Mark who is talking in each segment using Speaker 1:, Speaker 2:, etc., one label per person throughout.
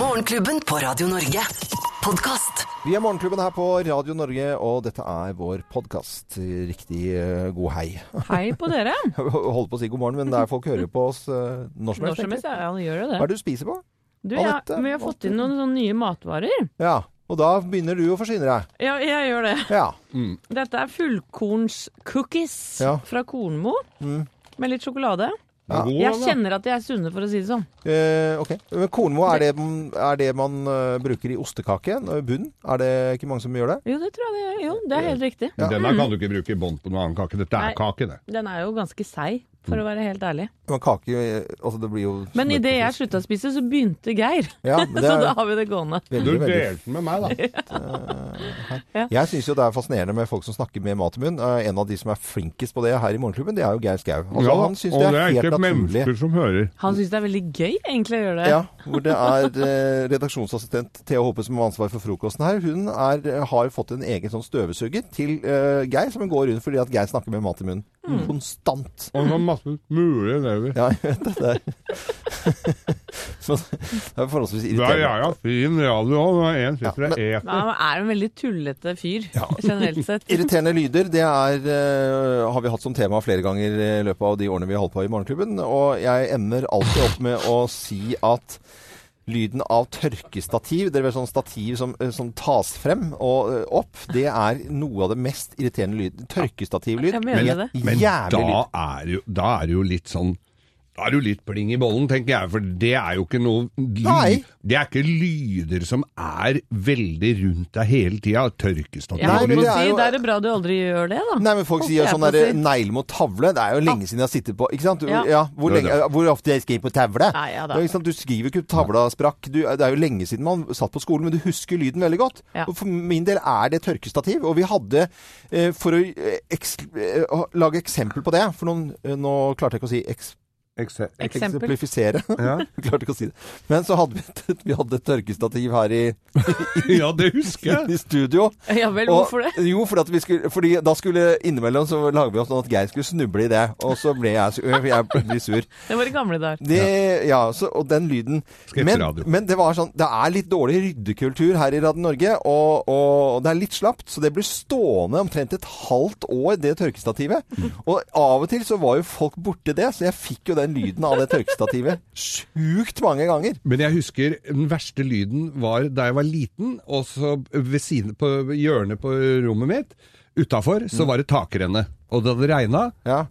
Speaker 1: Morgenklubben på Radio Norge. Podkast.
Speaker 2: Vi er Morgenklubben her på Radio Norge, og dette er vår podkast. Riktig eh, god hei.
Speaker 3: Hei på dere.
Speaker 2: Holdt på å si god morgen, men det er folk hører på oss eh, når som
Speaker 3: Når
Speaker 2: helst.
Speaker 3: som helst,
Speaker 2: egentlig.
Speaker 3: ja, ja, det gjør jo
Speaker 2: Hva
Speaker 3: det.
Speaker 2: er det du spiser på?
Speaker 3: Du, jeg,
Speaker 2: Anette,
Speaker 3: vi har fått inn noen sånne nye matvarer.
Speaker 2: Ja, og da begynner du å forsyne deg.
Speaker 3: Ja, jeg gjør det.
Speaker 2: Ja.
Speaker 3: Dette er fullkornscookies
Speaker 2: Ja.
Speaker 3: fra Kornmo.
Speaker 2: Mm.
Speaker 3: Med litt sjokolade.
Speaker 2: Ja.
Speaker 4: God,
Speaker 3: Jeg
Speaker 4: da.
Speaker 3: kjenner at de er sunne, for å si det sånn.
Speaker 2: Eh, ok. Men kornmo, er det, er det man eh, bruker i ostekake? eh, Bunn? Er det ikke mange som gjør det?
Speaker 3: Jo, det tror jeg det er. Jo, det er helt riktig.
Speaker 2: Ja.
Speaker 4: Den her kan du ikke bruke i bånd på noen annen kake. Dette er
Speaker 3: Mm. Nei.
Speaker 4: kake, det.
Speaker 3: Den er jo ganske seig, for å være helt ærlig.
Speaker 2: Men kake eh, Altså, det blir jo
Speaker 3: Men idet jeg slutta å spise, så begynte Geir.
Speaker 2: Ja, men det
Speaker 3: Så da
Speaker 2: er
Speaker 3: har vi det gående.
Speaker 4: Du
Speaker 2: veldig, Altså, veldig
Speaker 4: delte den med meg, da.
Speaker 2: Jeg syns jo det er fascinerende med folk som snakker med mat i munnen. Eh, En av de som er flinkest på det her i Morgenklubben, det er jo Geir Skau. Altså,
Speaker 4: Ja,
Speaker 2: han syns
Speaker 4: og
Speaker 2: det
Speaker 4: det
Speaker 2: er
Speaker 4: er
Speaker 2: helt
Speaker 4: ikke
Speaker 2: naturlig.
Speaker 4: mennesker som hører.
Speaker 3: Han syns det er veldig gøy, egentlig, å gjøre det.
Speaker 2: Ja, hvor det er eh, redaksjonsassistent Thea Håpe som har ansvar for frokosten her. Hun er, eh, har fått en egen sånn støvsuger til eh, Geir, som hun går rundt fordi at Geir snakker med mat i munnen. Konstant.
Speaker 4: Og så masse mulige elever.
Speaker 2: Ja, jeg vet det. Det er, Så det er forholdsvis
Speaker 4: Ja,
Speaker 2: irriterende.
Speaker 4: ja, ja, fin radio òg. En syns
Speaker 2: Ja,
Speaker 4: dere er
Speaker 3: Men han er en veldig tullete fyr, generelt sett.
Speaker 2: Irriterende lyder, det er, eh, har vi hatt som tema flere ganger i løpet av de årene vi har holdt på i Morgenklubben. Og jeg ender alltid opp med å si at lyden av tørkestativ, det er vel sånn stativ som, eh, som tas frem og eh, opp, det er noe av det mest irriterende lyden. Tørkestativlyd.
Speaker 3: Jeg mener det.
Speaker 4: Men
Speaker 2: jævlig
Speaker 4: da
Speaker 2: lyd.
Speaker 4: er, jo, da er det jo litt sånn da er det jo litt pling i bollen, tenker jeg, for det er jo ikke noe
Speaker 2: Nei.
Speaker 4: lyd. Det er ikke lyder som er veldig rundt deg hele tida. Tørkestativ.
Speaker 3: Jeg
Speaker 2: Nei,
Speaker 3: holdt
Speaker 2: men
Speaker 3: på å
Speaker 2: det er
Speaker 3: si,
Speaker 2: jo-
Speaker 3: Da er det bra du aldri gjør det, da.
Speaker 2: Nei, men folk
Speaker 3: Holdt
Speaker 2: sier
Speaker 3: jeg
Speaker 2: sånn
Speaker 3: på å
Speaker 2: derre
Speaker 3: si. Ah.
Speaker 2: negl mot tavle. Det er jo lenge siden jeg har sittet på Ikke sant? Du, ja.
Speaker 3: Ja.
Speaker 2: hvor,
Speaker 4: Det er
Speaker 2: lenge, hvor ofte jeg skriver på tavle?
Speaker 3: Nei, ja da.
Speaker 2: Det er ikke sant? Du skriver ikke tavla sprakk. Du, det er jo lenge siden man satt på skolen, men du husker lyden veldig godt.
Speaker 3: Ja.
Speaker 2: Og for min del er det tørkestativ. Og vi hadde, eh, for å eh, eks, eh, å lage eksempel på det For noen, eh, nå klarte jeg ikke å si eks,
Speaker 4: Ekse-
Speaker 3: Eksempel.
Speaker 2: eksemplifisere.
Speaker 4: Ja.
Speaker 2: klarte ikke å si det. Men så hadde vi, et- vi hadde et tørkestativ her i,
Speaker 4: ja, det husker jeg.
Speaker 2: i studio.
Speaker 3: Ja vel,
Speaker 2: Og-
Speaker 3: hvorfor det?
Speaker 2: Jo, fordi, at vi skulle, fordi da skulle innimellom så lager vi oss sånn at Geir skulle snuble i det. Og så ble jeg, sur- øh, jeg ble sur.
Speaker 3: Det var i gamle dager.
Speaker 2: Det, ja, så, og den lyden. Men,
Speaker 4: Sketsjeradio.
Speaker 2: men det var sånn, det er litt dårlig ryddekultur her i Radio Norge, og, og det er litt slapt. Så det blir stående omtrent et halvt år, det tørkestativet. Og av og til så var jo folk borti det, så jeg fikk jo den lyden av det tørkestativet sjukt mange ganger.
Speaker 4: Men jeg husker den verste lyden var da jeg var liten, og så ved siden på hjørnet på rommet mitt, utafor,
Speaker 2: Mm.
Speaker 4: så var det takrenne. Og det hadde regna.
Speaker 2: Ja.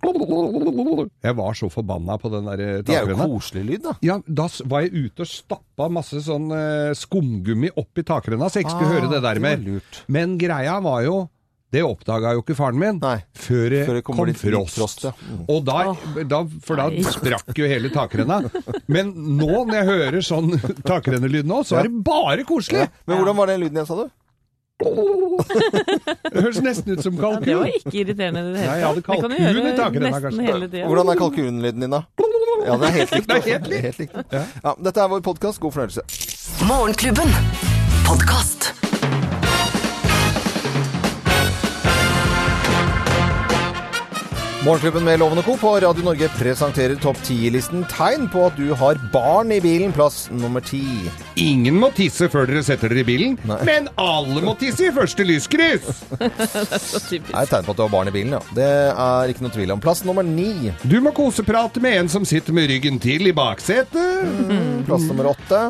Speaker 4: Jeg var så forbanna på den der
Speaker 2: Det er jo
Speaker 4: takrenna.
Speaker 2: koselig lyd, da.
Speaker 4: Ja, da s- var jeg ute og stappa masse sånn eh, skumgummi oppi takrenna, så jeg ikke skulle
Speaker 2: Ah,
Speaker 4: høre det der
Speaker 2: det var
Speaker 4: mer.
Speaker 2: lurt.
Speaker 4: Men greia var jo Det oppdaga jo ikke faren min
Speaker 2: Nei.
Speaker 4: før det
Speaker 2: Før det
Speaker 4: kom
Speaker 2: kommer litt
Speaker 4: frost.
Speaker 2: frost, ja. Mm.
Speaker 4: Og da, da, for da
Speaker 3: Nei.
Speaker 4: sprakk jo hele takrenna. Men nå når jeg hører sånn takrennelyd nå, så er det bare koselig!
Speaker 2: Men hvordan var den lyden jeg sa, du?
Speaker 4: Det høres nesten ut som
Speaker 3: Ja, det var
Speaker 4: kalkun.
Speaker 3: ikke irriterende i det
Speaker 4: Nei,
Speaker 3: hele
Speaker 4: jeg hadde
Speaker 3: tatt. Det kan du
Speaker 4: kalkun i
Speaker 3: gjøre
Speaker 4: takrenne,
Speaker 3: nesten
Speaker 4: kanskje.
Speaker 3: hele tida.
Speaker 2: Hvordan er kalkunlyden din, da? Ja, det er helt likt.
Speaker 4: Det er helt
Speaker 2: altså. helt likt. Ja, dette er vår podkast. God fornøyelse.
Speaker 1: Morgenklubben. Podkast.
Speaker 2: Morgenklubben med Loven og Co. på Radio Norge presenterer topp 10-listen tegn på at du har barn i bilen. Plass nummer ti.
Speaker 4: Ingen må tisse før dere setter dere i bilen, men alle må tisse i første lyskryss!
Speaker 3: Så typisk.
Speaker 2: Det er et tegn på at du har barn i bilen, ja. Det er ikke noe tvil om. Plass nummer ni.
Speaker 4: Du må koseprate med en som sitter med ryggen til i baksetet.
Speaker 2: Plass nummer åtte.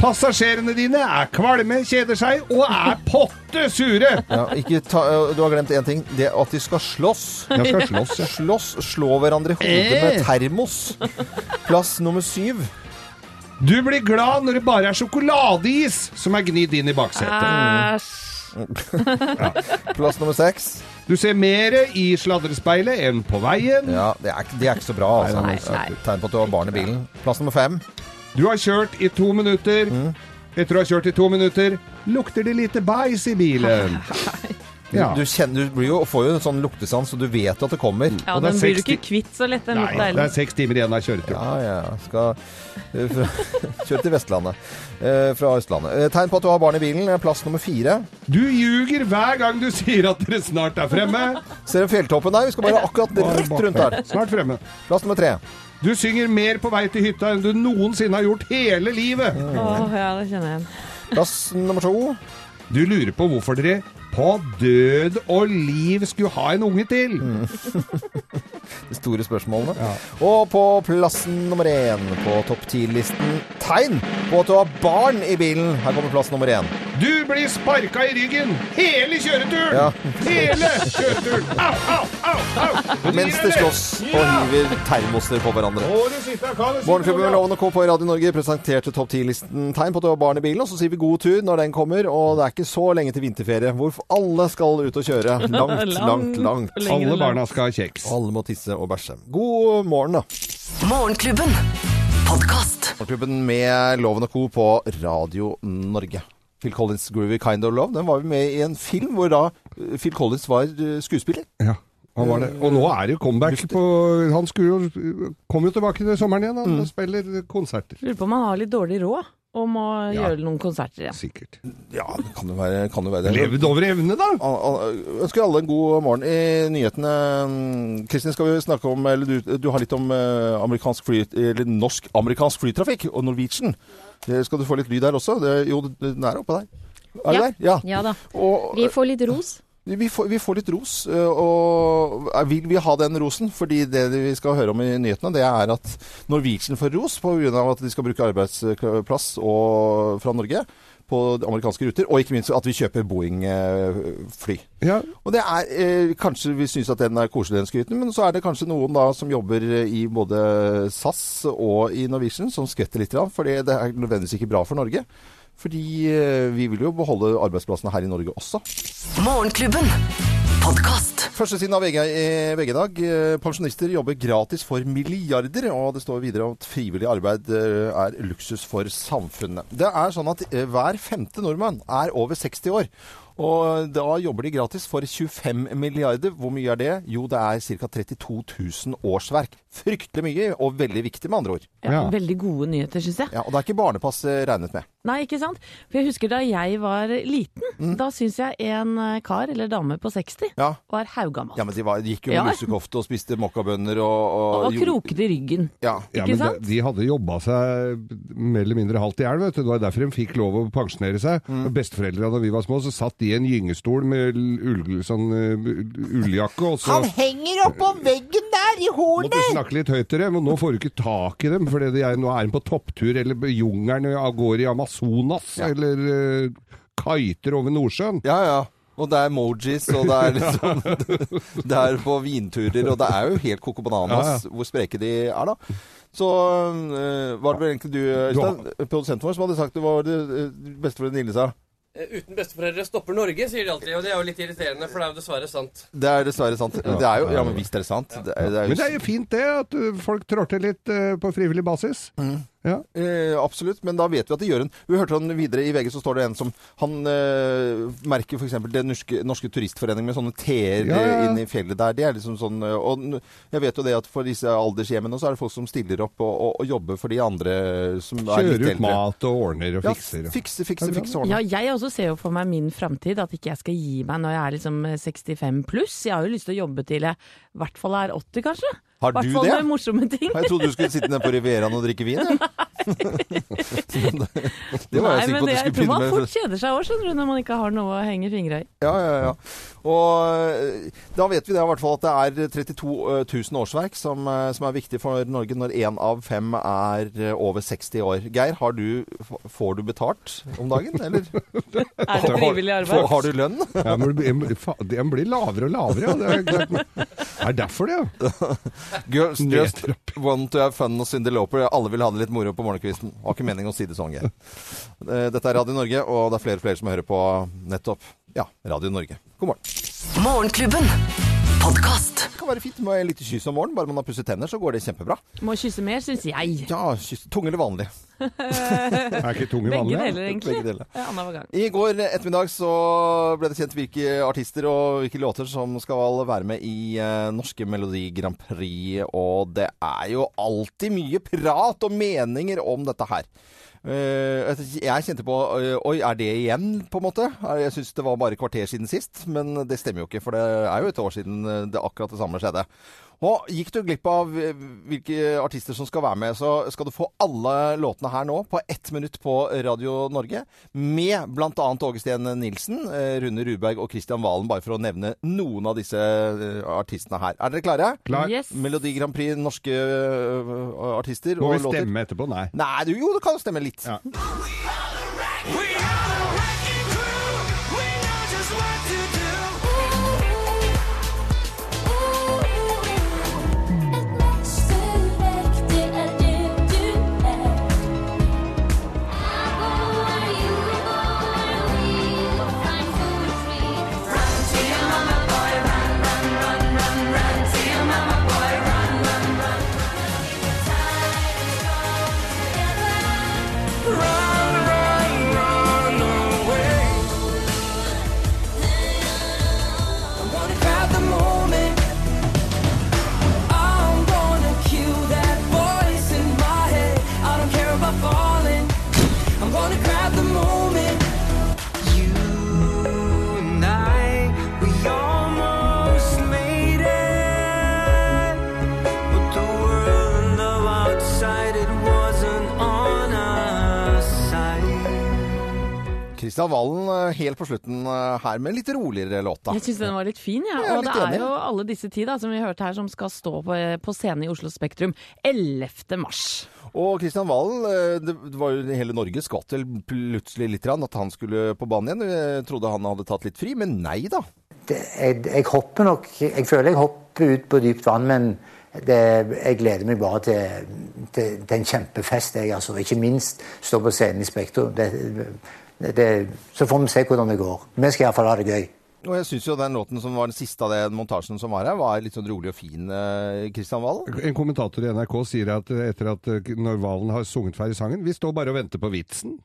Speaker 4: Passasjerene dine er kvalme, kjeder seg og er potte sure!
Speaker 2: Ja, ikke ta, du har glemt én ting. Det er at de skal slåss.
Speaker 4: Jeg skal slåss, jeg.
Speaker 2: Slåss, slå hverandre i hodet med
Speaker 4: Eh.
Speaker 2: termos. Plass nummer syv.
Speaker 4: Du blir glad når det bare er sjokoladeis som er gnidd inn i baksetet.
Speaker 3: Æsj.
Speaker 2: Plass nummer seks.
Speaker 4: Du ser mer i sladrespeilet enn på veien.
Speaker 2: Ja, det er, ikke- det er ikke så bra, altså.
Speaker 3: Nei, nei, nei.
Speaker 2: Tegn på at du har barn i bilen. Plass nummer fem.
Speaker 4: Du har kjørt i to minutter.
Speaker 2: Mm.
Speaker 4: Etter å ha kjørt i to minutter lukter det lite bæsj i bilen. Ja.
Speaker 2: Du, kjenner, du blir jo, får jo en sånn luktesans, så du vet at det kommer.
Speaker 3: Ja,
Speaker 4: Og det er
Speaker 3: den blir du
Speaker 4: 60
Speaker 3: ikke kvitt så lett, den
Speaker 4: Nei,
Speaker 3: lukta
Speaker 4: det
Speaker 3: heller.
Speaker 4: er seks timer igjen av kjøretur.
Speaker 2: Ah, Ja, ja. ja. Skal eh, fra- kjøre til Vestlandet eh, fra Østlandet. Eh, Tegn på at du har barn i bilen. eh, Plass nummer fire.
Speaker 4: Du ljuger hver gang du sier at dere snart er fremme.
Speaker 2: Ser du fjelltoppen der? Vi skal bare akkurat rett rundt der.
Speaker 4: Snart fremme.
Speaker 2: Plass nummer tre.
Speaker 4: Du synger mer på vei til hytta enn du noensinne har gjort hele livet.
Speaker 3: Åh, ja, det kjenner jeg igjen.
Speaker 2: Plass nummer to.
Speaker 4: Du lurer på hvorfor dere på død og liv skulle ha en unge til.
Speaker 2: De store spørsmålene. Og på plassen nummer én på topp ti-listen tegn på at du har barn i bilen. Her kommer plass nummer én.
Speaker 4: Du blir sparka i ryggen hele kjøreturen!
Speaker 2: Ja.
Speaker 4: Hele kjøreturen! Au, au, au! au.
Speaker 2: Mens de slåss og hiver termoser på hverandre. Morgenklubben med Loven og Co. på Radio Norge presenterte topp 10-listen tegn på at du har barn i bilen. Og så sier vi god tur når den kommer, og det er ikke så lenge til vinterferie hvor alle skal ut og kjøre. Langt, langt, langt.
Speaker 3: Lenger
Speaker 4: Alle
Speaker 3: enn
Speaker 4: barna
Speaker 3: langt.
Speaker 4: skal ha kjeks.
Speaker 2: Og alle må tisse og bæsje. God morgen, da.
Speaker 1: Morgenklubben. Podkast.
Speaker 2: Morgenklubben med Loven og Co. på Radio Norge. Phil Collins' Groovy Kind of Love den var vi med i en film hvor da eh, Phil Collins var eh, skuespiller.
Speaker 4: Ja, han var det. Og nå er det jo comeback på Han skulle jo, kom jo tilbake til sommeren igjen
Speaker 2: Mm.
Speaker 4: han, og spiller konserter.
Speaker 3: Lurer på om han har litt dårlig råd om å
Speaker 4: Ja.
Speaker 3: gjøre noen konserter igjen.
Speaker 4: Sikkert.
Speaker 2: Ja, det kan jo være, kan jo være det.
Speaker 4: Levd over evne, da!
Speaker 2: Al- al- Ønsker alle en god morgen. I nyhetene mm, Kristin, skal vi snakke om eller du, du har litt om eh, amerikansk fly, eller norsk-amerikansk flytrafikk og Norwegian. Eh, Skal du få litt lyd her også? Det, jo, den er oppe der. Er
Speaker 5: Ja.
Speaker 2: du der? Ja.
Speaker 5: Ja da.
Speaker 2: Og, eh,
Speaker 5: Vi får litt ros.
Speaker 2: Vi får, vi får litt ros, eh, og eh, vil vi ha den rosen? Fordi det vi skal høre om i nyhetene, det er at Norwegian får ros pga. at de skal bruke arbeidsplass eh, og, fra Norge på amerikanske ruter, og ikke minst at vi kjøper eh, Boeing-fly.
Speaker 4: Ja,
Speaker 2: Og det er, eh, Kanskje vi syns at den er koselig, den skryten, men så er det kanskje noen da som jobber eh, i både SAS og i Norwegian som skvetter litt, for det er nødvendigvis ikke bra for Norge. Fordi eh, vi vil jo beholde arbeidsplassene her i Norge også.
Speaker 1: Morgenklubben. Podkast.
Speaker 2: Første siden av VG i VG-dag. Pensjonister jobber gratis for milliarder, og det står videre at frivillig arbeid eh, er luksus for samfunnet. Det er sånn at eh, hver femte nordmann er over 60 år. Og da jobber de gratis for 25 milliarder. Hvor mye er det? Jo, det er ca. 32 000 årsverk. Fryktelig mye, og veldig viktig med andre ord.
Speaker 3: Ja,
Speaker 4: Ja.
Speaker 3: Veldig gode nyheter, syns jeg.
Speaker 2: Ja, og det er ikke barnepass eh, regnet med.
Speaker 3: Nei, ikke sant? For jeg husker da jeg var liten,
Speaker 4: Mm.
Speaker 3: da syns jeg en eh, kar eller dame på 60
Speaker 2: Ja,
Speaker 3: var haugammal.
Speaker 2: ja men de, var, de gikk jo med
Speaker 3: Ja.
Speaker 2: lusekofte og spiste mokkabønner og, og,
Speaker 3: og var
Speaker 2: gjorde-
Speaker 3: krokete i ryggen.
Speaker 2: Ja.
Speaker 4: ja
Speaker 3: Ikke
Speaker 4: men de,
Speaker 3: sant?
Speaker 4: de hadde jobba seg mer eller mindre halvt i hjel, vet du. Det var derfor de fikk lov å pensjonere seg.
Speaker 2: Mm.
Speaker 4: Og Besteforeldra da vi var små, så satt de i en gyngestol med ull, sånn eh, ulljakke, og så
Speaker 2: henger oppå veggen der i
Speaker 4: Måtte snakke litt høyt til dem, og nå får du ikke tak i dem, for det er, nå er de på topptur, eller i jungelen og går i Amazonas, eller eh, kiter over Nordsjøen.
Speaker 2: Ja, ja. Og det er emojis, og det er liksom Det er på vinturer, og det er jo helt koko bananas hvor spreke de er, da. Så øh, var det vel egentlig du, Øystein, produsenten vår, som hadde sagt det var det øh, beste for den lille sa.
Speaker 6: Eh, Uten besteforeldre stopper Norge, sier de alltid. Og det er jo litt irriterende, for det er jo dessverre sant.
Speaker 2: Det er dessverre sant. Det er jo Ja, men visst er det sant. Det er, det er
Speaker 4: Men det
Speaker 2: jo
Speaker 4: er jo fint det, at eh, folk trår til litt eh, på frivillig basis. Ja.
Speaker 2: Eh, absolutt, men da vet vi at de gjør en Vi hørte han videre i VG, så står det en som Han eh, merker f.eks. Den norske, norske turistforening med sånne T-er
Speaker 4: Ja, ja, ja.
Speaker 2: inn i fjellet der. Det er liksom sånn eh, Og n- jeg vet jo det at for disse aldershjemmene så er det folk som stiller opp og, og, og jobber for de andre som er litt
Speaker 4: Kjører ut
Speaker 2: eldre.
Speaker 4: mat og ordner og
Speaker 2: Ja,
Speaker 4: fikser. og-
Speaker 2: fikse, fikse,
Speaker 4: Det er bra.
Speaker 2: fikse ordne.
Speaker 3: Ja, jeg også ser jo for meg min framtid, at ikke jeg skal gi meg når jeg er liksom 65 pluss. Jeg har jo lyst til å jobbe til jeg i hvert fall er 80, kanskje.
Speaker 2: Har
Speaker 3: I
Speaker 2: du
Speaker 3: hvert fall
Speaker 2: det?
Speaker 3: med morsomme ting.
Speaker 2: Jeg trodde du skulle sitte nede på Rivieraen og drikke vin, jeg. det var jeg sikker på at du skulle
Speaker 3: jeg tror
Speaker 2: begynne
Speaker 3: man
Speaker 2: med.
Speaker 3: fort kjeder seg òg, skjønner du, når man ikke har noe å henge fingra i.
Speaker 2: Ja, ja, ja. Og eh, da vet vi det i hvert fall at det er 32 000 årsverk som, eh, som er viktig for Norge når én av fem er eh, over 60 år. Geir, har du, f- får du betalt om dagen, eller?
Speaker 3: Er det
Speaker 2: Får,
Speaker 3: frivillig arbeid?
Speaker 2: har du lønn?
Speaker 4: Ja, men det blir- fa- det blir lavere og lavere, ja. Det er, det er derfor det, ja.
Speaker 2: Girls just
Speaker 4: Nedtrapp.
Speaker 2: want to have fun og Cyndi Lauper. Alle vil ha det litt moro på morgenkvisten. Har ikke mening å si det sånn, Geir. Eh, Dette er Radio Norge, og det er flere og flere som hører på nettopp ja, Radio Norge. God morgen.
Speaker 1: Morgenklubben. Podkast.
Speaker 2: Det kan være fint med et lite kyss om morgenen. Bare man har pusset tenner, så går det kjempebra.
Speaker 3: Må kysse mer, syns jeg.
Speaker 2: Ja, kyss. Tung eller vanlig?
Speaker 4: Er ikke tunge
Speaker 3: Begge
Speaker 4: vanlige?
Speaker 3: deler, egentlig.
Speaker 2: Begge deler.
Speaker 3: Ja, Annenhver gang.
Speaker 2: I går ettermiddag så ble det kjent hvilke artister og hvilke låter som skal være med i eh, norske Melodi Grand Prix, og det er jo alltid mye prat og meninger om dette her. Eh, jeg- jeg kjente på eh, Oi, er det igjen, på en måte? Eh, Jeg syns det var bare et kvarter siden sist, men det stemmer jo ikke, for det er jo et år siden eh, det akkurat det samme skjedde. Og gikk du glipp av eh, hvilke artister som skal være med, så skal du få alle låtene her nå på ett minutt på Radio Norge. Med bl.a. Åge Steen Nilsen, eh, Rune Ruberg og Kristian Valen, bare for å nevne noen av disse eh, artistene her. Er dere klare?
Speaker 4: Klar?
Speaker 3: Yes.
Speaker 2: Melodi Grand Prix, norske eh, artister
Speaker 4: Må
Speaker 2: og
Speaker 4: vi
Speaker 2: låter.
Speaker 4: stemme etterpå? Nei.
Speaker 2: Nei, du, jo, det kan jo stemme litt.
Speaker 4: Ja.
Speaker 2: Kristian Valen eh, helt på slutten eh, her med en litt roligere låt, da.
Speaker 3: Jeg syns den var litt fin, ja.
Speaker 2: Jeg er
Speaker 3: Og det
Speaker 2: litt enig.
Speaker 3: er jo alle disse ti da, som vi hørte her, som skal stå på, eh, på scenen i Oslo Spektrum 11. mars.
Speaker 2: Og Kristian Valen, eh, det det var jo hele Norge skvatt vel plutselig litt grann at han skulle på banen igjen. Jeg trodde han hadde tatt litt fri, men nei da.
Speaker 5: det, jeg, jeg hopper nok Jeg føler jeg hopper ut på dypt vann, men det, jeg gleder meg bare til, til, til en kjempefest. Jeg, altså, ikke minst stå på scenen i Spektrum. Det, det, det, så får vi se hvordan det går. Vi skal iallfall ha det gøy.
Speaker 2: Og jeg syns jo den låten som var den siste av den montasjen som var her, var litt sånn rolig og fin, eh, Kristian Valen.
Speaker 4: En kommentator i NRK sier at eh, etter at eh, når Valen har sunget ferdig sangen Vi står bare og venter på vitsen.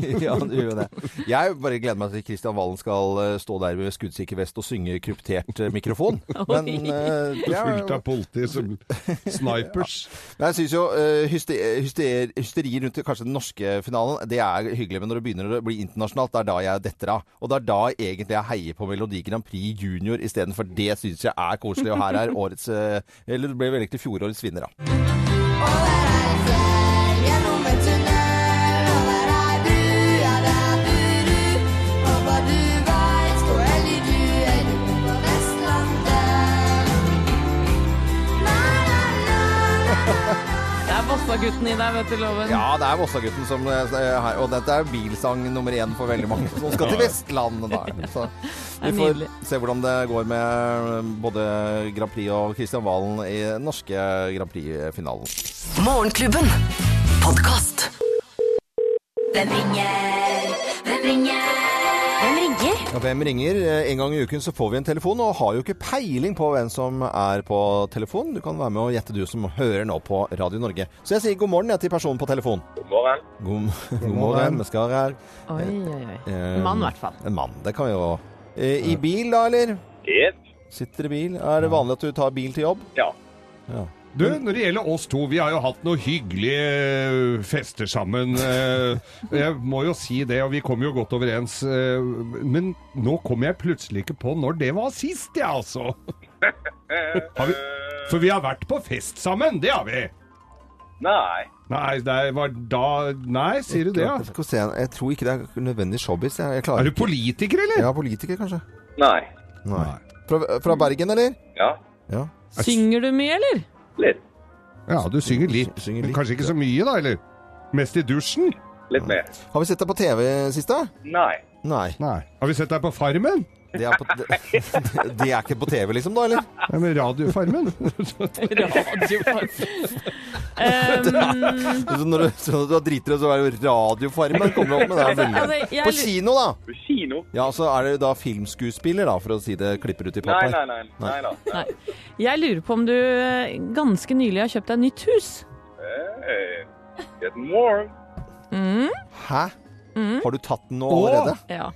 Speaker 2: ja, det gjør jo det. Jeg bare gleder meg til Kristian Valen skal eh, stå der med skuddsikker vest og synge kryptert eh, mikrofon. Men eh, det er-
Speaker 4: Fullt av politi som snipers.
Speaker 2: Men jeg synes jo eh, hyste- hyster- hysteri rundt kanskje den norske finalen, det er hyggelig. Men når det begynner å bli internasjonalt, det er da jeg detter av. Og det er da egentlig jeg heier på Melodi Grand Prix Junior istedenfor. Det syns jeg er koselig. Og her er årets eh, Eller det ble vel egentlig fjorårets vinner, da.
Speaker 3: Det er Vossagutten i deg, vet du, Loven.
Speaker 2: Ja, det er Vossagutten som eh, er her. Og dette er bilsang nummer én for veldig mange som skal til Vestlandet, da. Så vi
Speaker 3: Det er
Speaker 2: får
Speaker 3: nydelig.
Speaker 2: se hvordan det går med eh, både Grand Prix og Kristian Valen i den norske Grand Prix-finalen.
Speaker 1: Morgenklubben. Podkast.
Speaker 7: Hvem ringer? Hvem ringer? Hvem ringer?
Speaker 2: Ja, Hvem ringer? Eh, En gang i uken så får vi en telefon, og har jo ikke peiling på hvem som er på telefon. Du kan være med og gjette du som hører nå på Radio Norge. Så jeg sier god morgen jeg, til personen på telefon.
Speaker 8: Morgen.
Speaker 2: God, god morgen, vi skal her.
Speaker 3: Oi, oi, oi.
Speaker 2: Eh,
Speaker 3: Mann, i hvert fall.
Speaker 2: En mann, det kan vi jo. Eh, I bil da, eller?
Speaker 8: Jepp.
Speaker 2: Sitter i bil. Er det vanlig at du tar bil til jobb?
Speaker 8: Ja.
Speaker 4: Du, når det gjelder oss to, vi har jo hatt noen hyggelige øh, fester sammen. øh, Jeg må jo si det, og vi kom jo godt overens. øh, Men nå kom jeg plutselig ikke på når det var sist, jeg, altså. Har vi, for vi har vært på fest sammen, det har vi.
Speaker 8: Nei.
Speaker 4: Nei, det var da Nei, sier du det, ja?
Speaker 2: Skal vi se, Jeg tror ikke det er nødvendig showbiz. Jeg, jeg
Speaker 4: Er
Speaker 2: klarer
Speaker 4: du politiker, eller?
Speaker 2: Ja, politiker, kanskje.
Speaker 8: Nei.
Speaker 2: Nei. Fra, fra Bergen, eller?
Speaker 8: Ja.
Speaker 2: Ja.
Speaker 3: Synger du mye, eller?
Speaker 8: Litt.
Speaker 4: Ja, du synger litt.
Speaker 2: Synger
Speaker 4: Men
Speaker 2: litt,
Speaker 4: kanskje ikke så mye, da, eller? Mest i dusjen?
Speaker 8: Litt mer.
Speaker 2: Har vi sett deg på TV sist, da?
Speaker 8: Nei.
Speaker 2: Nei.
Speaker 4: Nei. Har vi sett deg på Farmen?
Speaker 2: Det er, på, det, det er ikke på TV, liksom, da, eller?
Speaker 4: Ja, med Radiofarmen?
Speaker 3: Um,
Speaker 2: Så når du, så når du driter deg, så er det jo Radiofarmen kommer opp med det. er veldig-
Speaker 3: altså, jeg
Speaker 2: På
Speaker 3: lu-
Speaker 2: kino, da!
Speaker 8: Kino?
Speaker 2: Ja, så er det jo da filmskuespiller, da, for å si det klipper ut i
Speaker 8: Nei,
Speaker 2: papp
Speaker 8: nei,
Speaker 2: her.
Speaker 8: nei. Nei da. Nei.
Speaker 3: Nei. Jeg lurer på om du eh, ganske nylig har kjøpt deg nytt hus.
Speaker 8: Hey. Get warm.
Speaker 2: Hæ? Har du tatt den nå allerede?
Speaker 3: Ja.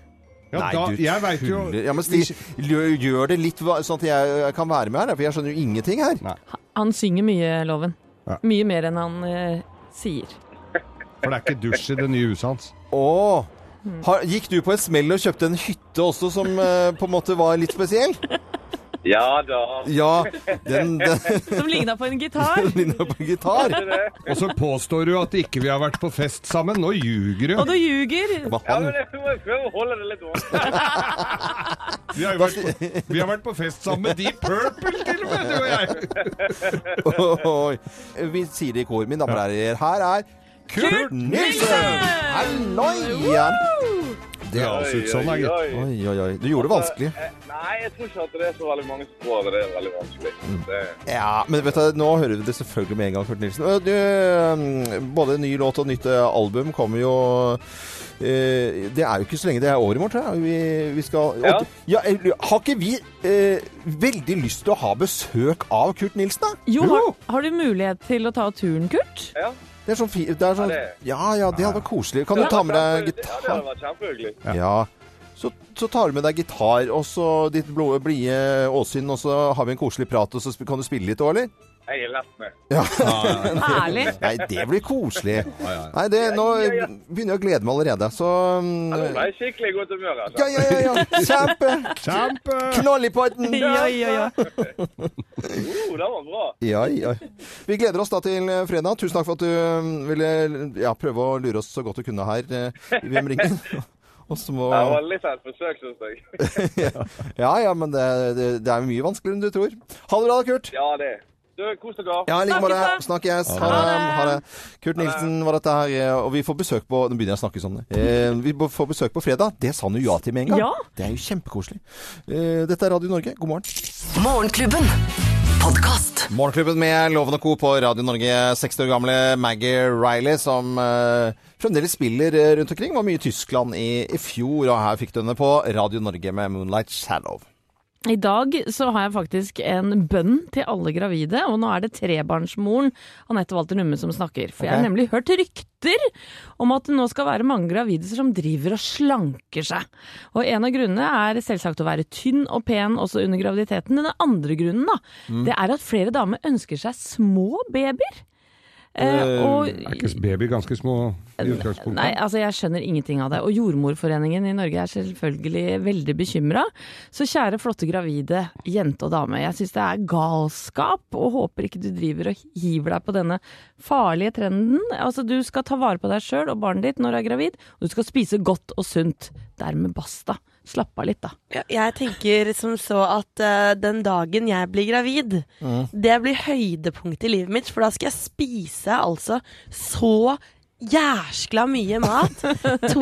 Speaker 4: Ja, da,
Speaker 2: du
Speaker 4: jeg veit jo
Speaker 2: tuller. Ja, men Stig, gjør, gjør det litt va- sånn at jeg eh, kan være med her, da, for jeg skjønner jo ingenting her.
Speaker 3: Han synger mye, Loven.
Speaker 4: Ja.
Speaker 3: Mye mer enn han eh, sier.
Speaker 4: For det er ikke dusj i det nye huset hans.
Speaker 2: Åh. Har, gikk du på en smell og kjøpte en hytte også som eh, på en måte var litt spesiell?
Speaker 8: Ja da.
Speaker 2: Ja, den, den
Speaker 3: Som ligna på en gitar.
Speaker 2: ligner på en gitar.
Speaker 4: Og så påstår du at ikke vi har vært på fest sammen. Nå ljuger
Speaker 3: Og
Speaker 4: du.
Speaker 3: du ljuger.
Speaker 2: Men
Speaker 8: Ja, men
Speaker 2: han,
Speaker 8: jeg må prøve å holde det litt vanskelig.
Speaker 4: Vi har, jo vært på, vi har vært på fest sammen med Deep Purple, til og med, du og jeg.
Speaker 2: oi, vi sier det i kor. Min damelærer her er Kurt
Speaker 4: Kurt
Speaker 2: Nilsen! Halloia! Det,
Speaker 4: Ja. høres ut sånn, da, gitt.
Speaker 8: oi.
Speaker 2: oi, oi, oi. Du gjorde det vanskelig.
Speaker 8: Eh, Nei, jeg tror ikke at det er så veldig mange som tror at det er veldig vanskelig. Det,
Speaker 2: Ja, men vet du, nå hører vi det selvfølgelig med en gang, Kurt Nilsen. Og Du, mm, både ny låt og nytt eh, album kommer jo eh, Det er jo ikke så lenge det er år i morgen, tror jeg. Vi, vi skal
Speaker 8: Ja.
Speaker 2: og- ja, eh, Har ikke vi eh, veldig lyst til å ha besøk av Kurt Nilsen, da?
Speaker 3: Jo, har, har du mulighet til å ta turen, Kurt?
Speaker 8: ja.
Speaker 2: Det er sånn fi... Det er sånn,
Speaker 8: Ja, det-
Speaker 2: ja, ja, det hadde vært koselig. Kan du ta med deg
Speaker 8: Ja, det
Speaker 2: gitar?
Speaker 8: hadde vært kjempehyggelig.
Speaker 2: Ja. Så, så tar du med deg gitar og så ditt blå- blide åsyn, og så har vi en koselig prat, og så sp- kan du spille litt òg, eller?
Speaker 8: Jeg er lett med.
Speaker 3: Herlig.
Speaker 2: Nei, det blir koselig. Nei, det, nå begynner jeg å glede meg allerede. Så mm,
Speaker 8: Nå ble jeg skikkelig i godt humør. Altså.
Speaker 2: Ja, ja, ja. ja. Kjempe!
Speaker 4: Kjempe!
Speaker 2: Knall i podden!
Speaker 3: Ja, ja, ja.
Speaker 8: Jo, det var bra.
Speaker 2: Ja, ja. Vi gleder oss da til eh, fredag. Tusen takk for at du mm, ville ja, prøve å lure oss så godt du kunne her eh, i Hvem ringer? Og så må
Speaker 8: Det var litt av et forsøk, syns jeg.
Speaker 2: Ja ja, men det, det, det er mye vanskeligere enn du tror. Ha det bra, da, Kurt.
Speaker 8: Ja, det. Du, kos dere.
Speaker 2: Ja, i like
Speaker 3: Snakkes,
Speaker 2: måte.
Speaker 3: da.
Speaker 2: Snakkes. Ha det. Ha det. Kurt Nilsen var dette her, eh, og vi får besøk på Nå begynner jeg å snakke sånn. Eh, vi får besøk på fredag. Det sa han jo ja til med en gang.
Speaker 3: Ja.
Speaker 2: Det er jo kjempekoselig. Eh, dette er Radio Norge, god morgen.
Speaker 1: Morgenklubben. Podkast.
Speaker 2: Morgenklubben med Loven og Co. på Radio Norge. 60 år gamle Maggie Riley som eh, fremdeles spiller eh, rundt omkring. Var mye i Tyskland i, i fjor, og her fikk du henne på Radio Norge med Moonlight Shadow.
Speaker 3: I dag så har jeg faktisk en bønn til alle gravide, og nå er det trebarnsmoren Anette Walter Numme som snakker. For jeg har
Speaker 2: Ok.
Speaker 3: nemlig hørt rykter om at det nå skal være mange gravide som driver og slanker seg. Og en av grunnene er selvsagt å være tynn og pen også under graviditeten. Men den andre grunnen da, det er at flere damer ønsker seg små babyer. Eh,
Speaker 4: Er ikke baby ganske små i utgangspunktet?
Speaker 3: Nei, altså jeg skjønner ingenting av det. Og Jordmorforeningen i Norge er selvfølgelig veldig bekymra. Så kjære flotte gravide jente og dame, jeg syns det er galskap, og håper ikke du driver og hiver deg på denne farlige trenden. Altså du skal ta vare på deg sjøl og barnet ditt når du er gravid, og du skal spise godt og sunt. Dermed basta. Slapp av litt, da.
Speaker 9: Ja, jeg tenker som så at eh, den dagen jeg blir gravid, det blir høydepunktet i livet mitt, for da skal jeg spise altså så jæskla mye mat 24-7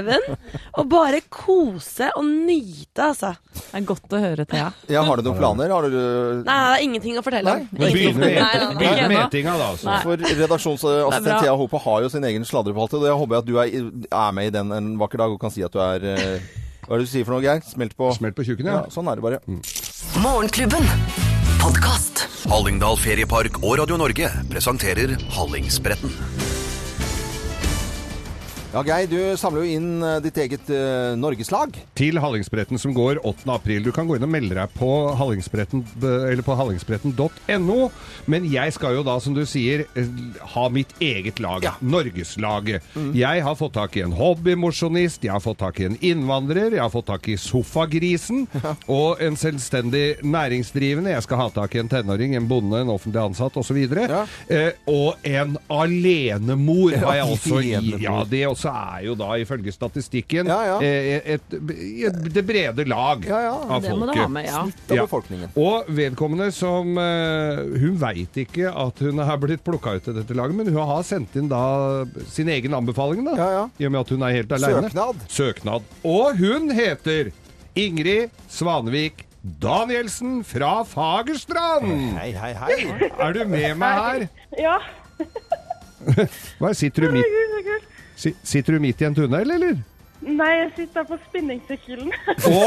Speaker 9: og bare kose og nyte, altså.
Speaker 3: Det er godt å høre, Thea.
Speaker 2: Ja, har du noen planer? Har du
Speaker 9: Nei, det er ingenting å fortelle om.
Speaker 2: Nei,
Speaker 4: Men
Speaker 9: Ingenting å
Speaker 4: Begynner
Speaker 9: fortelle. Nei, nei, nei.
Speaker 4: med, begynner med
Speaker 3: Nei.
Speaker 4: etinga, da. Altså.
Speaker 2: For redaksjonsassistent
Speaker 3: bra.
Speaker 2: Thea Hope har jo sin egen sladrepalte. og Jeg håper at du er, er med i den en vakker dag og kan si at du er eh, Hva er det du sier for noe, Geir? Smelt på?
Speaker 4: Smelt på tjukken,
Speaker 2: Ja,
Speaker 4: ja. Mm.
Speaker 2: sånn er det bare.
Speaker 1: Morgenklubben. Podkast.
Speaker 10: Hallingdal Feriepark og Radio Norge presenterer Hallingsbretten.
Speaker 2: Ja, Geir, du samler jo inn eh, ditt eget eh, norgeslag.
Speaker 4: Til Hallingsbretten som går 8. april. Du kan gå inn og melde deg på Hallingsbretten, eller på hallingsbretten.no. Men jeg skal jo da, som du sier, eh, ha mitt eget lag. Norgeslaget.
Speaker 2: Mm.
Speaker 4: Jeg har fått tak i en hobbymosjonist, jeg har fått tak i en innvandrer, jeg har fått tak i sofagrisen og en selvstendig næringsdrivende. Jeg skal ha tak i en tenåring, en bonde, en offentlig ansatt osv.
Speaker 2: Ja.
Speaker 4: Eh, og en alenemor har jeg også i.
Speaker 2: alenemor.
Speaker 4: Ja, det også er jo da ifølge statistikken
Speaker 2: Ja, ja.
Speaker 4: eh, Et, et, det brede lag
Speaker 2: Ja, ja,
Speaker 4: av
Speaker 3: Det må du
Speaker 4: folket.
Speaker 3: ha med, ja.
Speaker 2: Av
Speaker 4: Ja.
Speaker 2: befolkningen.
Speaker 4: Og vedkommende som eh, Hun veit ikke at hun har blitt plukka ut til dette laget, men hun har sendt inn da sin egen anbefaling, da.
Speaker 2: Ja, ja.
Speaker 4: I og med at hun er helt aleine.
Speaker 2: Søknad.
Speaker 4: Søknad. Og hun heter Ingrid Svanvik Danielsen fra Fagerstrand!
Speaker 2: Hei, hei, hei.
Speaker 4: Er du med meg her?
Speaker 11: Ja.
Speaker 4: Hva, sitter, du midt,
Speaker 11: Herregud, så kult.
Speaker 4: si, sitter du midt i en tunnel, eller?
Speaker 11: Nei, jeg sitter på spinningsykkelen.
Speaker 4: Å!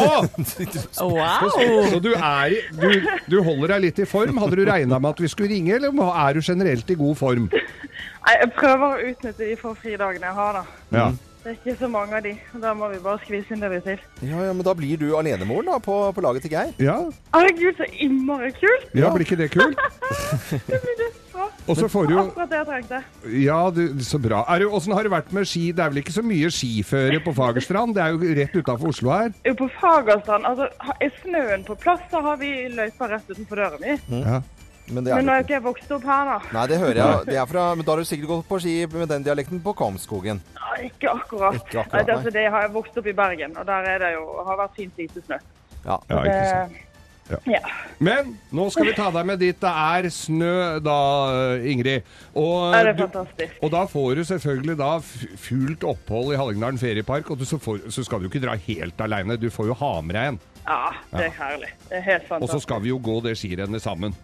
Speaker 3: Wow!
Speaker 4: Så du, er, i- du, du holder deg litt i form. Hadde du regna med at vi skulle ringe, eller er du generelt i god form?
Speaker 11: Nei, jeg prøver å utnytte de få fridagene jeg har, da.
Speaker 4: Ja.
Speaker 11: Det er ikke så mange av de. og Da må vi bare skvise inn det vi til.
Speaker 2: Ja, ja, men da blir du alenemoren da, på, på laget til Geir.
Speaker 4: Ja,
Speaker 11: Herregud, så innmari kult!
Speaker 4: ja blir ikke det kult?
Speaker 11: Det blir dødsbra.
Speaker 4: Og så får du jo
Speaker 11: Akkurat det jeg trengte.
Speaker 4: Ja, du, så bra. Er du, hvordan har det vært med ski? Det er vel ikke så mye skiføre på Fagerstrand? Det er jo rett utafor Oslo her.
Speaker 11: Jo, på Fagerstrand, altså, ha- er snøen på plass, så har vi løypa rett utenfor døren min.
Speaker 4: Ja.
Speaker 2: Men det er
Speaker 11: Men nå
Speaker 2: det
Speaker 11: er
Speaker 2: ikke.
Speaker 11: ikke jeg vokst opp her, da.
Speaker 2: Nei, det hører jeg. Det er fra, men da har du sikkert gått på ski med den dialekten på Kamskogen.
Speaker 11: Nei, Ikke akkurat.
Speaker 2: Ikke akkurat,
Speaker 11: Nei, det,
Speaker 2: nei.
Speaker 11: altså, det har jeg vokst opp i Bergen, og der er det jo, har vært fint lite snø.
Speaker 2: Ja,
Speaker 11: Eh, Ja.
Speaker 4: Ja. Men nå skal vi ta deg med dit det er snø, da, eh, Ingrid. Og,
Speaker 11: Ja, det er
Speaker 4: du-
Speaker 11: fantastisk.
Speaker 4: og da får du selvfølgelig da f- fullt opphold i Hallingdalen feriepark, og du, så, får, så skal du ikke dra helt aleine. Du får jo ha med deg en.
Speaker 11: Ja, det
Speaker 4: Ja.
Speaker 11: er herlig. Det er helt
Speaker 4: Og så
Speaker 11: fantastisk.
Speaker 4: skal vi jo gå det skirennet sammen.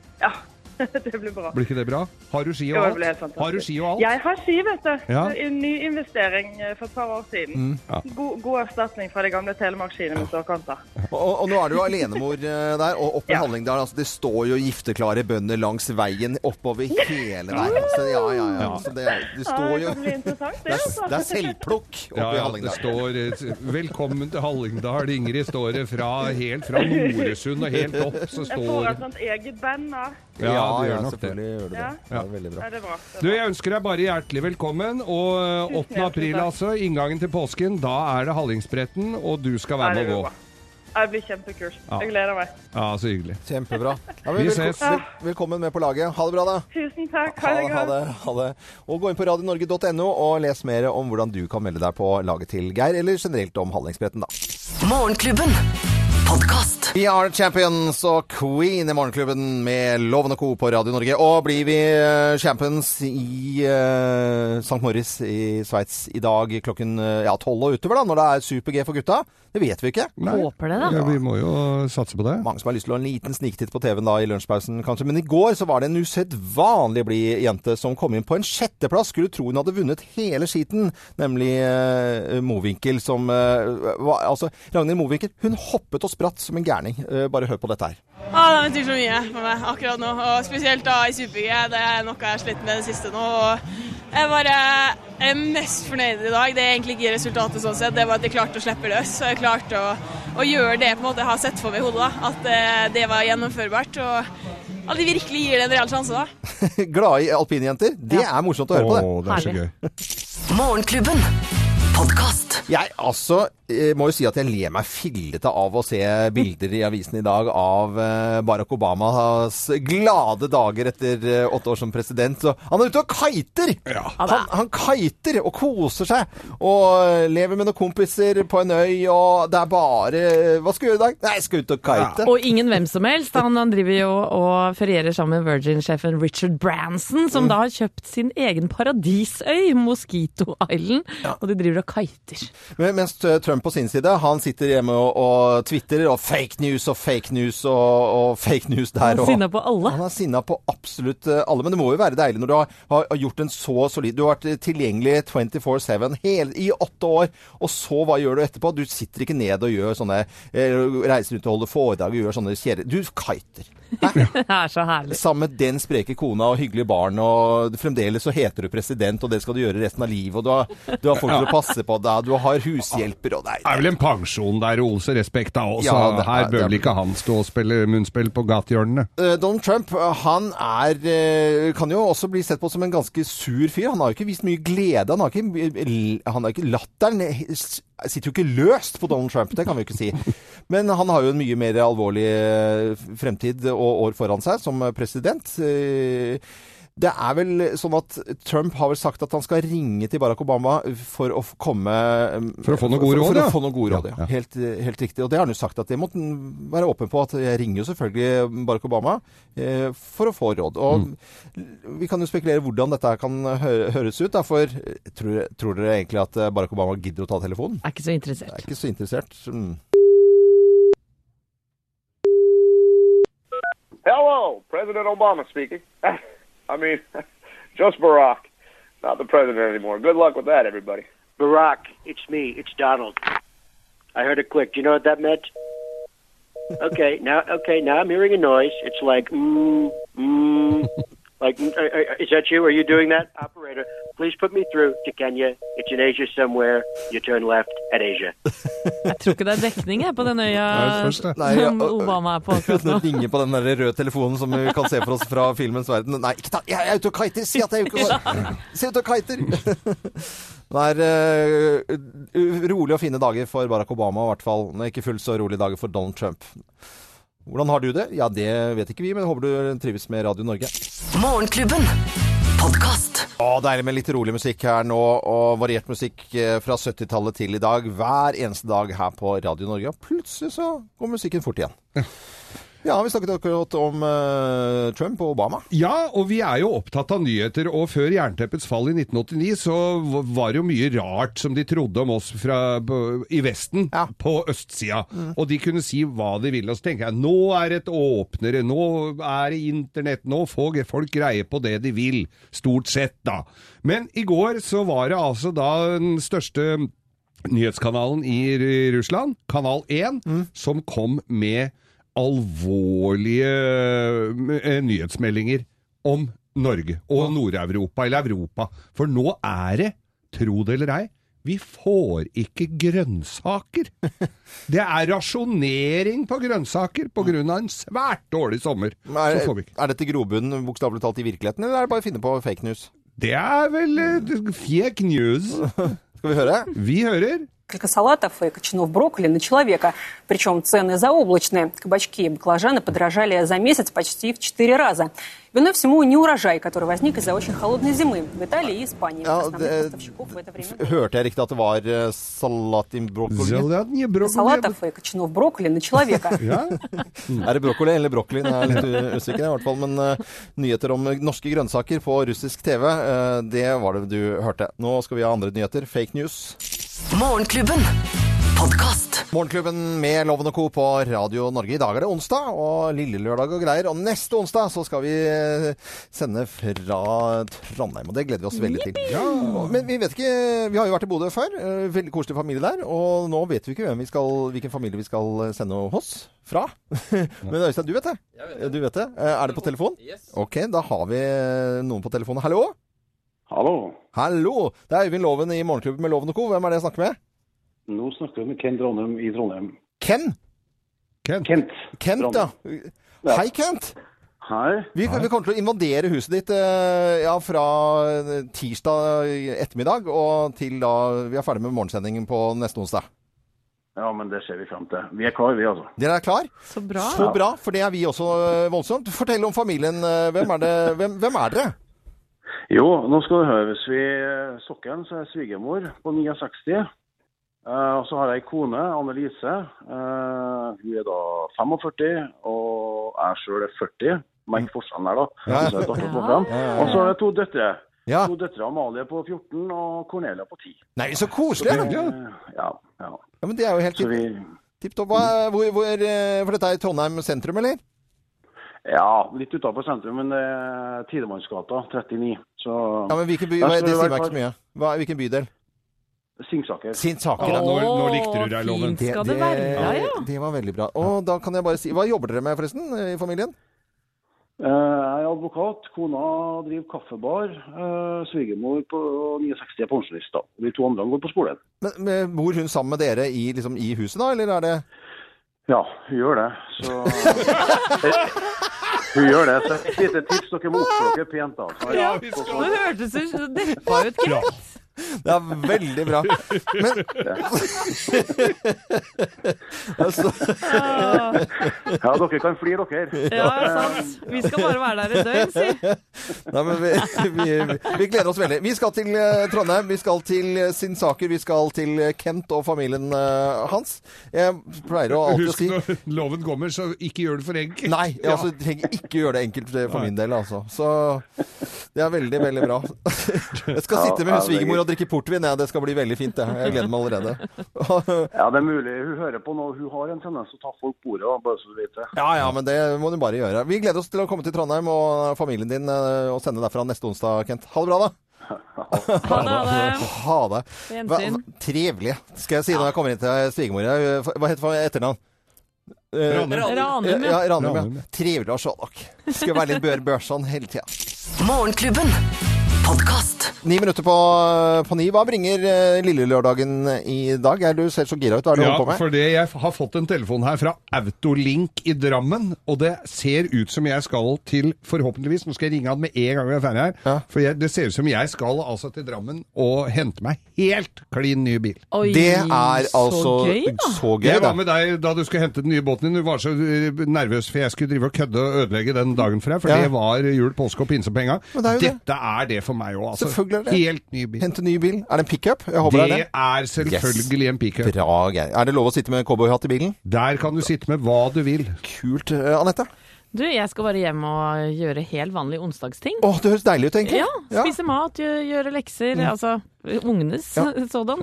Speaker 11: det blir bra.
Speaker 4: Blir ikke det bra? Har du ski
Speaker 11: Jo,
Speaker 4: og
Speaker 11: det blir helt
Speaker 4: alt?
Speaker 11: fantastisk.
Speaker 4: Har du ski og alt?
Speaker 11: Jeg har ski, vet du.
Speaker 4: Ja.
Speaker 11: En ny investering eh, for et par år siden.
Speaker 2: Mm. Ja.
Speaker 11: God, god erstatning fra de gamle telemarkskiene med ståkanter.
Speaker 2: Og, og nå er du jo alenemor eh, der, og oppe i Hallingdal altså, Det står jo gifteklare bønder langs veien oppover hele der. Altså, ja, ja, ja.
Speaker 4: Ja.
Speaker 2: Så det, er- det
Speaker 11: Ja,
Speaker 2: står
Speaker 11: det
Speaker 2: jo
Speaker 11: kan bli interessant, det,
Speaker 2: Det er,
Speaker 11: altså.
Speaker 2: det er selvplukk oppe
Speaker 4: Ja,
Speaker 2: i
Speaker 4: ja, det
Speaker 2: Hallingdal.
Speaker 4: står eh, 'Velkommen til Hallingdal', Ingrid, står det fra, helt fra Noresund og helt opp. Så
Speaker 11: Jeg får
Speaker 4: står
Speaker 11: et sånt eget band da.
Speaker 4: Ja, det gjør nok det.
Speaker 2: selvfølgelig gjør du det.
Speaker 11: Ja.
Speaker 2: Det er veldig bra.
Speaker 11: Ja, det er bra.
Speaker 4: Du, Jeg ønsker deg bare hjertelig velkommen. Og eh, 8.
Speaker 11: hjertelig
Speaker 4: april,
Speaker 11: takk.
Speaker 4: altså, inngangen til påsken, da er det Hallingsbretten, og du skal være
Speaker 11: Ja, det
Speaker 4: med å
Speaker 11: blir
Speaker 4: gå.
Speaker 11: bra. Ja, Det blir kjempekult.
Speaker 4: Ja.
Speaker 11: Jeg gleder meg.
Speaker 4: Ja, så hyggelig.
Speaker 2: Kjempebra. Ja, men
Speaker 4: Vi
Speaker 2: velko-
Speaker 4: ses.
Speaker 2: vel- Velkommen med på laget. Ha det bra, da.
Speaker 11: Tusen takk.
Speaker 2: Ha,
Speaker 11: Ha det
Speaker 2: ha
Speaker 11: godt.
Speaker 2: det, ha det. Og gå inn på radionorge.no og les mer om hvordan du kan melde deg på laget til Geir, eller generelt om Hallingsbretten, da.
Speaker 1: Morgenklubben. Podkast.
Speaker 2: Vi er champions og queen i Morgenklubben med Loven og Co. på Radio Norge. Og blir vi eh, champions i eh, St. Morris i Sveits i dag klokken eh, ja, 12 og utover, da, når det er super-G for gutta? Det vet vi ikke.
Speaker 3: Håper det, da.
Speaker 4: Ja, vi må jo satse på det.
Speaker 2: Mange som har lyst til å ha en liten sniktitt på TV-en da i lunsjpausen, kanskje. Men i går så var det en usedvanlig blid jente som kom inn på en sjetteplass. Skulle tro hun hadde vunnet hele skiten, nemlig eh, Mowinckel som eh, var, Altså, Ragnhild Mowinckel, hun hoppet og spratt som en gærning. Eh, bare hør på dette her.
Speaker 12: Ja, det betyr så mye for meg akkurat nå, og spesielt da i Super-G. Det er noe jeg har slitt med det siste nå. og Jeg bare er mest fornøyd i dag. Det er egentlig ikke resultatet sånn sett, det var at jeg klarte å slippe løs. Og jeg klarte å, å gjøre det på en måte jeg har sett for meg i hodet, da. at eh, det var gjennomførbart. Og at de virkelig gir det en reell sjanse, da.
Speaker 2: Glade i alpinjenter? Det er morsomt å høre på, det.
Speaker 4: Å, det er så Herlig.
Speaker 1: Morgenklubben. Podkast.
Speaker 2: Jeg altså eh, må jo si at jeg ler meg fillete av å se bilder i avisen i dag av eh, Barack Obamas glade dager etter eh, åtte år som president. Så han er ute og kiter! Han, han kiter og koser seg. Og eh, lever med noen kompiser på en øy, og det er bare eh, Hva skal du gjøre i dag? Nei, jeg skal ut og kite.
Speaker 3: Og ingen hvem som helst. Han, han driver jo og ferierer sammen med Virgin-sjefen Richard Branson, som da har kjøpt sin egen paradisøy, Mosquito Island, og de driver og kiter.
Speaker 2: Men- Mens eh, Trump på sin side, han sitter hjemme og, og twitterer og fake news og fake news og, og fake news der.
Speaker 3: Han er
Speaker 2: og-
Speaker 3: sinna på alle.
Speaker 2: Han er sinna på absolutt eh, alle. Men det må jo være deilig når du har, har har gjort en så solid Du har vært eh, tilgjengelig 24-7 hele- i åtte år, og så hva gjør du etterpå? Du sitter ikke ned og gjør sånne eh, Reiser rundt og holder foredrag og gjør sånne kjære... Du kiter.
Speaker 3: Det er så herlig.
Speaker 2: Sammen med den spreke kona og hyggelige barn, og fremdeles så heter du president, og det skal du gjøre resten av livet, og du har, du har folk til å passe på deg, du har hushjelper og deg.
Speaker 4: Det er vel en pensjon der, Olse. Respekt, da. Også.
Speaker 2: Ja, det er-
Speaker 4: Her bør
Speaker 2: det er-
Speaker 4: vel ikke han stå og spille munnspill på gatehjørnene.
Speaker 2: Eh, Donald Trump eh, han er, eh, kan jo også bli sett på som en ganske sur fyr. Han har jo ikke vist mye glede. Han har ikke, eh, han har ikke Latteren sitter jo ikke løst på Donald Trump, det kan vi jo ikke si. Men han har jo en mye mer alvorlig eh, fremtid og år foran seg som president. Eh, Det er vel sånn at Trump har vel sagt at han skal ringe til Barack Obama for å f- komme eh,
Speaker 4: For å få noen gode
Speaker 2: for-
Speaker 4: råd,
Speaker 2: for å
Speaker 4: ja.
Speaker 2: få noen gode råd, ja.
Speaker 4: Ja, ja.
Speaker 2: Helt, helt riktig. Og det har han jo sagt at det måtte han være åpen på. At jeg ringer jo selvfølgelig Barack Obama eh, for å få råd. Og vi kan jo spekulere hvordan dette her kan hø høres ut. Da, for eh, tror, tror dere egentlig at eh, Barack Obama gidder å ta telefonen?
Speaker 3: Er ikke så interessert.
Speaker 2: Er ikke så interessert. Mm.
Speaker 8: Hello, President Obama speaking. I mean, just Barack, not the president anymore. Good luck with that, everybody.
Speaker 13: Barack, it's me. It's Donald. I heard a click. Do you know what that meant? Okay, now okay, now I'm hearing a noise. It's like mm, mm, Like, n- uh, uh, is that you? Are you doing that, operator? Please put me through to Kenya. It's in Asia somewhere. You turn left at Asia.
Speaker 3: Jeg tror ikke det er dekning jeg, på den øya
Speaker 2: Nei, først det. Nei, ja,
Speaker 3: som Obama er på akkurat
Speaker 2: Uten å
Speaker 3: nå.
Speaker 2: ringe på den der røde telefonen som vi kan se for oss fra filmens verden. Nei, ikke ta Jeg er ute og kiter! Si at jeg er ute og kiter! Si at jeg er ute og kiter! Det er eh, u- rolig og fine dager for Barack Obama, i hvert fall. Det er ikke fullt så rolige dager for Donald Trump. Hvordan har du det? Ja, det vet ikke vi, men håper du trives med Radio Norge.
Speaker 1: Morgenklubben. Podkast.
Speaker 2: Å, deilig med litt rolig musikk her nå, og variert musikk eh, fra 70-tallet til i dag. Hver eneste dag her på Radio Norge. Og plutselig så går musikken fort igjen. Ja, vi snakket akkurat om eh, Trump og Obama.
Speaker 4: Ja, og vi er jo opptatt av nyheter, og før jernteppets fall i 1989 så v- var det jo mye rart som de trodde om oss fra, på- i Vesten, på østsida.
Speaker 14: Mm.
Speaker 4: Og de kunne si hva de ville, og så tenker jeg nå er det et åpnere, nå er det internett, nå får folk greie på det de vil, stort sett da. Men i går så var det altså da den største nyhetskanalen i Ru- Russland, Kanal 1, som kom med alvorlige eh, nyhetsmeldinger om Norge og Nord-Europa, eller Europa. For nå er det, tro det eller ei, vi får ikke grønnsaker. Det er rasjonering på grønnsaker på grunn av en svært dårlig sommer.
Speaker 2: Er,
Speaker 4: Så får vi
Speaker 2: er dette grobunnen bokstavelig talt i virkeligheten, eller er det bare å finne på fake news?
Speaker 4: Det er vel eh, fake news.
Speaker 2: Skal vi høre?
Speaker 4: Vi hører.
Speaker 15: Несколько салатов и кочанов брокколи на человека. Причем цены заоблачные. Кабачки и баклажаны подорожали за месяц почти в 4 раза. Виной всему неурожай, который возник из-за очень холодной зимы в Италии и Испании. Основных поставщиков в это время
Speaker 2: Hørte jeg riktig at det var eh, salat in broccoli?
Speaker 15: салатов и кочанов брокколи на человека.
Speaker 4: Ja.
Speaker 2: Er det brokkoli eller brokkoli? Jeg er litt u- usikker, i hvert fall. Men eh, nyheter om norske grønnsaker på russisk TV, eh, det var det du hørte. Nå skal vi ha andre nyheter. Fake news.
Speaker 1: Morgenklubben. Podkast.
Speaker 2: Morgenklubben med Loven og Co. på Radio Norge. I dag er det onsdag, og lille lørdag og greier. Og neste onsdag så skal vi eh, sende fra Trondheim, og det gleder vi oss veldig til. Og- Men vi vet ikke Vi har jo vært i Bodø før. eh, Veldig koselig familie der. Og nå vet vi ikke hvem vi skal, hvilken familie vi skal sende hos fra. Men Øystein, du vet det? Du vet det. Eh, Er det på telefon? Ok, da har vi eh, noen på telefonen. Hallo?
Speaker 16: Hallo.
Speaker 2: Hallo! Det er Øyvind Loven i Morgenklubben med Loven og Co. Hvem er det jeg snakker med?
Speaker 16: Nå snakker vi med Kent Trondheim i Trondheim.
Speaker 2: Ken?
Speaker 4: Kent.
Speaker 16: Kent,
Speaker 2: Kent, ja.
Speaker 16: Ja.
Speaker 2: Hei, Kent.
Speaker 16: Hei.
Speaker 2: Vi, vi kommer til å invadere huset ditt eh, ja, fra eh, tirsdag ettermiddag og til da vi er ferdig med morgensendingen på neste onsdag.
Speaker 16: Ja, men det ser vi fram til. Vi er klar, vi altså.
Speaker 2: Dere er klar?
Speaker 3: Så
Speaker 16: bra.
Speaker 2: Så bra, for det er vi også eh, voldsomt. Fortell om familien. eh, Hvem er, det, hvem, hvem er dere?
Speaker 16: Jo, nå skal du høre. Hvis vi eh, sokkelen, så er jeg svigermor på 69. Eh, og så har jeg ei kone, Annelise. Eh, hun er da 45, og jeg sjøl er 40. Merk forskjellen her, da.
Speaker 2: Ja. Ah.
Speaker 16: Så det er et artig program. Og så er det to døtre.
Speaker 2: Ja.
Speaker 16: To døtre, Amalie på 14 og Cornelia på 10.
Speaker 2: Nei, så koselig!
Speaker 16: Så det-
Speaker 2: Ja.
Speaker 16: Ja, ja.
Speaker 2: ja, men det er jo helt
Speaker 16: Så vi,
Speaker 2: tipp topp. Hva- Hvor, hvor, eh, for dette er i Trondheim sentrum, eller?
Speaker 16: Ja, litt utafor sentrum, men det er Tidemannsgata 39. Så
Speaker 2: Ja, men hvilken by,
Speaker 16: Der
Speaker 2: hva,
Speaker 16: skal
Speaker 2: Det
Speaker 16: vi
Speaker 2: sier
Speaker 16: være
Speaker 2: meg ikke så
Speaker 16: klar.
Speaker 2: mye. Hva, hvilken bydel?
Speaker 16: Singsaker.
Speaker 2: Singsaker,
Speaker 4: Ja, nå- nå likte du deg, Loven.
Speaker 2: Det,
Speaker 4: Skal
Speaker 2: det,
Speaker 4: det være, ja.
Speaker 2: det var veldig bra. Og da kan jeg bare si Hva jobber dere med, forresten, i familien?
Speaker 16: Eh, Jeg er advokat, kona driver kaffebar, eh, svigermor på 69 er pensjonist. da. De to andre går på skolen.
Speaker 2: Men, men Bor hun sammen med dere i, liksom, i huset, da, eller er det
Speaker 16: Ja, hun gjør det. Så Hun gjør det. Så et lite tips, dere må oppføre dere pent. da. Så-
Speaker 3: Ja, det hørtes ut som det deppa ut,
Speaker 16: Ja.
Speaker 3: Kent.
Speaker 2: Det er veldig bra. Men altså.
Speaker 16: Ja, dere kan flire, dere.
Speaker 3: Ja, sant. Vi skal bare være der et døgn, si.
Speaker 2: Nei, men vi, vi, vi gleder oss veldig. Vi skal til eh, Trondheim, vi skal til eh, Sinsaker, vi skal til eh, Kent og familien eh, hans. Jeg pleier å alltid å
Speaker 4: Husk
Speaker 2: si
Speaker 4: når loven kommer, så ikke gjør det for enkelt.
Speaker 2: Nei, jeg
Speaker 4: Ja.
Speaker 2: altså, trenger ikke gjøre det enkelt for for min del, altså. Så det er veldig, veldig bra. Jeg skal
Speaker 16: Ja,
Speaker 2: sitte med hun
Speaker 16: ja, det er
Speaker 2: svigermor
Speaker 16: gøy.
Speaker 2: og drikke portvin, jeg. Det skal bli veldig fint, det. Jeg gleder meg allerede.
Speaker 16: Ja, det er mulig. Hun hører på nå. Hun har en tendens til å ta folk på ordet, da, bare så du vet det.
Speaker 2: Ja, ja, men det må du bare gjøre. Vi gleder oss til å komme til Trondheim og familien din eh, og sende derfra neste onsdag, Kent. Ha det bra, da. Ha
Speaker 16: det, ha det.
Speaker 2: Ha det.
Speaker 16: På gjensyn.
Speaker 2: Hva, hva- trevelig, skal jeg si når jeg kommer inn til svigermor. Jeg, eh, Hva heter fa- etternavn? Eh,
Speaker 4: Ranum. Ranum,
Speaker 2: ja.
Speaker 4: ja.
Speaker 2: Ranum,
Speaker 4: Ranum,
Speaker 2: ja. Trevelig å se dere. Skal være litt bør børsan hele tida.
Speaker 1: Morgenklubben. Podkast.
Speaker 2: Ni minutter på, på ni. Hva bringer eh, lille lørdagen i dag? Er du ser så gira ut. Hva er det du
Speaker 4: Ja,
Speaker 2: holder på med?
Speaker 4: for det, jeg har fått en telefon her fra Autolink i Drammen, og det ser ut som jeg skal til, forhåpentligvis, nå skal jeg ringe han med en gang vi er ferdig her, for jeg, det ser ut som jeg skal altså til Drammen og hente meg helt klin ny bil.
Speaker 2: Oi, Det er så altså gøy, da. så gøy,
Speaker 4: Jeg
Speaker 2: da.
Speaker 4: var med deg da du skulle hente den nye båten din, du var så eh, nervøs for jeg skulle drive og kødde og ødelegge den dagen for deg, for
Speaker 2: Ja.
Speaker 4: det var jul, påske og pinse på en gang.
Speaker 2: Men det er jo det.
Speaker 4: Dette er det for meg også, altså.
Speaker 2: Selvfølgelig er det.
Speaker 4: Helt ny bil.
Speaker 2: Hente ny bil. Er det en pickup? Jeg håper det,
Speaker 4: Det
Speaker 2: er det.
Speaker 4: er selvfølgelig en pickup.
Speaker 2: Bra, Geir. Er det lov å sitte med cowboyhatt i bilen?
Speaker 4: Der kan du sitte med hva du vil.
Speaker 2: Kult, eh, Anette.
Speaker 3: Du, jeg skal bare hjem og gjøre helt vanlige onsdagsting.
Speaker 2: Åh, det høres deilig ut, egentlig.
Speaker 3: Ja, spise mat, gjø- gjøre lekser,
Speaker 2: Mm.
Speaker 3: altså ungenes sådan.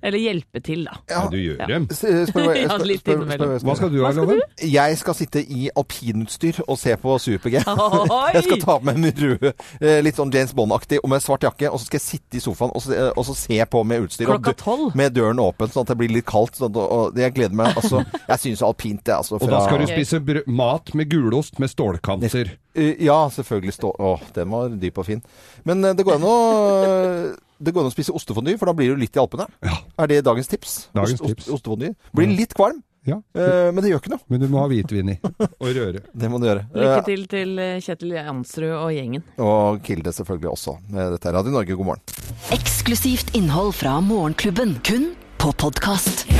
Speaker 3: Eller hjelpe til, da.
Speaker 4: Ja, du gjør dem.
Speaker 2: S- eh, Spør, spør,
Speaker 3: Ja,
Speaker 2: spør,
Speaker 3: litt
Speaker 2: spør,
Speaker 3: innimellom.
Speaker 2: spør-
Speaker 4: Hva skal du ha, Hva skal Loven?
Speaker 2: Jeg skal sitte i alpinutstyr og se på Super-G.
Speaker 3: Oi!
Speaker 2: Jeg skal ta på meg min røde, eh, litt sånn James Bond-aktig, og med svart jakke. Og så skal jeg sitte i sofaen og, se- eh, og så se på med utstyr. og
Speaker 3: Klokka
Speaker 2: dø-
Speaker 3: tolv.
Speaker 2: Med døren åpen, sånn at det blir litt kaldt. Sånn, at- og jeg gleder meg. Altså, jeg syns alpint det, altså.
Speaker 4: Og da skal du spise brød- mat med gulost med stålkanter.
Speaker 2: Eh, Ja, selvfølgelig. Stå Å, den var dyp og fin. Men eh, det går an å eh, det går an å spise ostefondue, for da blir du litt i Alpene. Er det dagens tips?
Speaker 4: Dagens
Speaker 2: Ost- ost-
Speaker 4: tips. Mm.
Speaker 2: Ostefondue. Blir litt kvalm, eh, men det gjør ikke noe.
Speaker 4: Men du må ha hvitvin i. Og røre.
Speaker 2: Det må du gjøre.
Speaker 3: Lykke
Speaker 2: Eh,
Speaker 3: til til eh, Kjetil Jansrud og gjengen.
Speaker 2: Og Kilde selvfølgelig også. Eh, Dette er Radio Norge, god morgen.
Speaker 1: Eksklusivt innhold fra Morgenklubben. Kun på podkast.